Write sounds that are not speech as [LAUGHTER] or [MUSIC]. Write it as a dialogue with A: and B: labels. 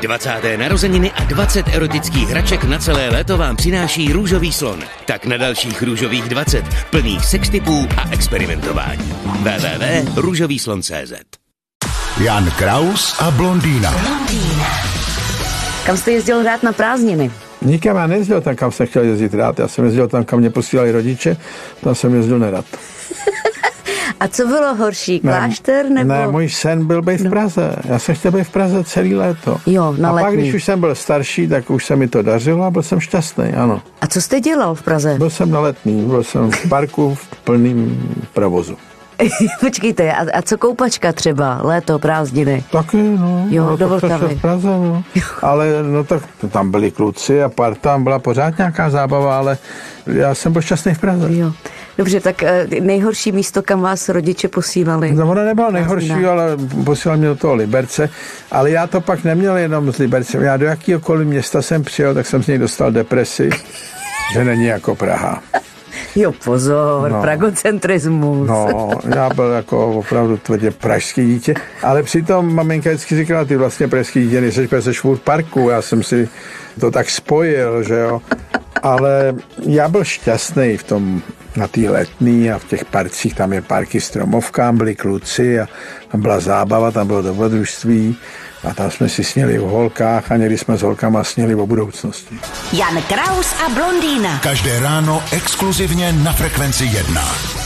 A: 20. narozeniny a 20 erotických hraček na celé léto vám přináší Růžový slon. Tak na dalších Růžových 20 plných sextipů a experimentování. www.růžovýslon.cz
B: Jan Kraus a blondýna.
C: Kam jste jezdil hrát na prázdniny?
D: Nikam já nejezdil tam, kam jsem chtěl jezdit rád. Já jsem jezdil tam, kam mě posílali rodiče, tam jsem jezdil nerad.
C: A co bylo horší, klášter nebo... No.
D: ne, můj sen byl být v Praze. Já jsem chtěl být v Praze celý léto.
C: Jo, na
D: A pak,
C: letní.
D: když už jsem byl starší, tak už se mi to dařilo a byl jsem šťastný, ano.
C: A co jste dělal v Praze?
D: Byl jsem na letní, byl jsem v parku v plném provozu.
C: [LAUGHS] Počkejte, a, a co koupačka třeba? Léto, prázdniny.
D: Taky, no.
C: Jo,
D: no,
C: do
D: tak to
C: Vltavy.
D: se v Praze, no. Ale no tak tam byli kluci a pár, tam byla pořád nějaká zábava, ale já jsem byl šťastný v Praze.
C: Jo. Dobře, tak eh, nejhorší místo, kam vás rodiče posílali?
D: No, ono nebylo nejhorší,
C: Prázdnina.
D: ale posílal mě do toho Liberce, ale já to pak neměl jenom s Libercem. Já do jakýkoliv města jsem přijel, tak jsem z něj dostal depresi, [LAUGHS] že není jako Praha.
C: Jo, pozor, no.
D: No.
C: pragocentrismus.
D: No, já byl jako opravdu tvrdě pražský dítě, ale přitom maminka vždycky říkala, ty vlastně pražský dítě nejseš, protože jsi furt v parku, já jsem si to tak spojil, že jo. Ale já byl šťastný v tom na té letní a v těch parcích, tam je parky stromovkám, byli kluci a tam byla zábava, tam bylo dobrodružství a tam jsme si sněli o holkách a někdy jsme s holkama sněli o budoucnosti.
E: Jan Kraus a blondýna.
B: Každé ráno exkluzivně na Frekvenci 1.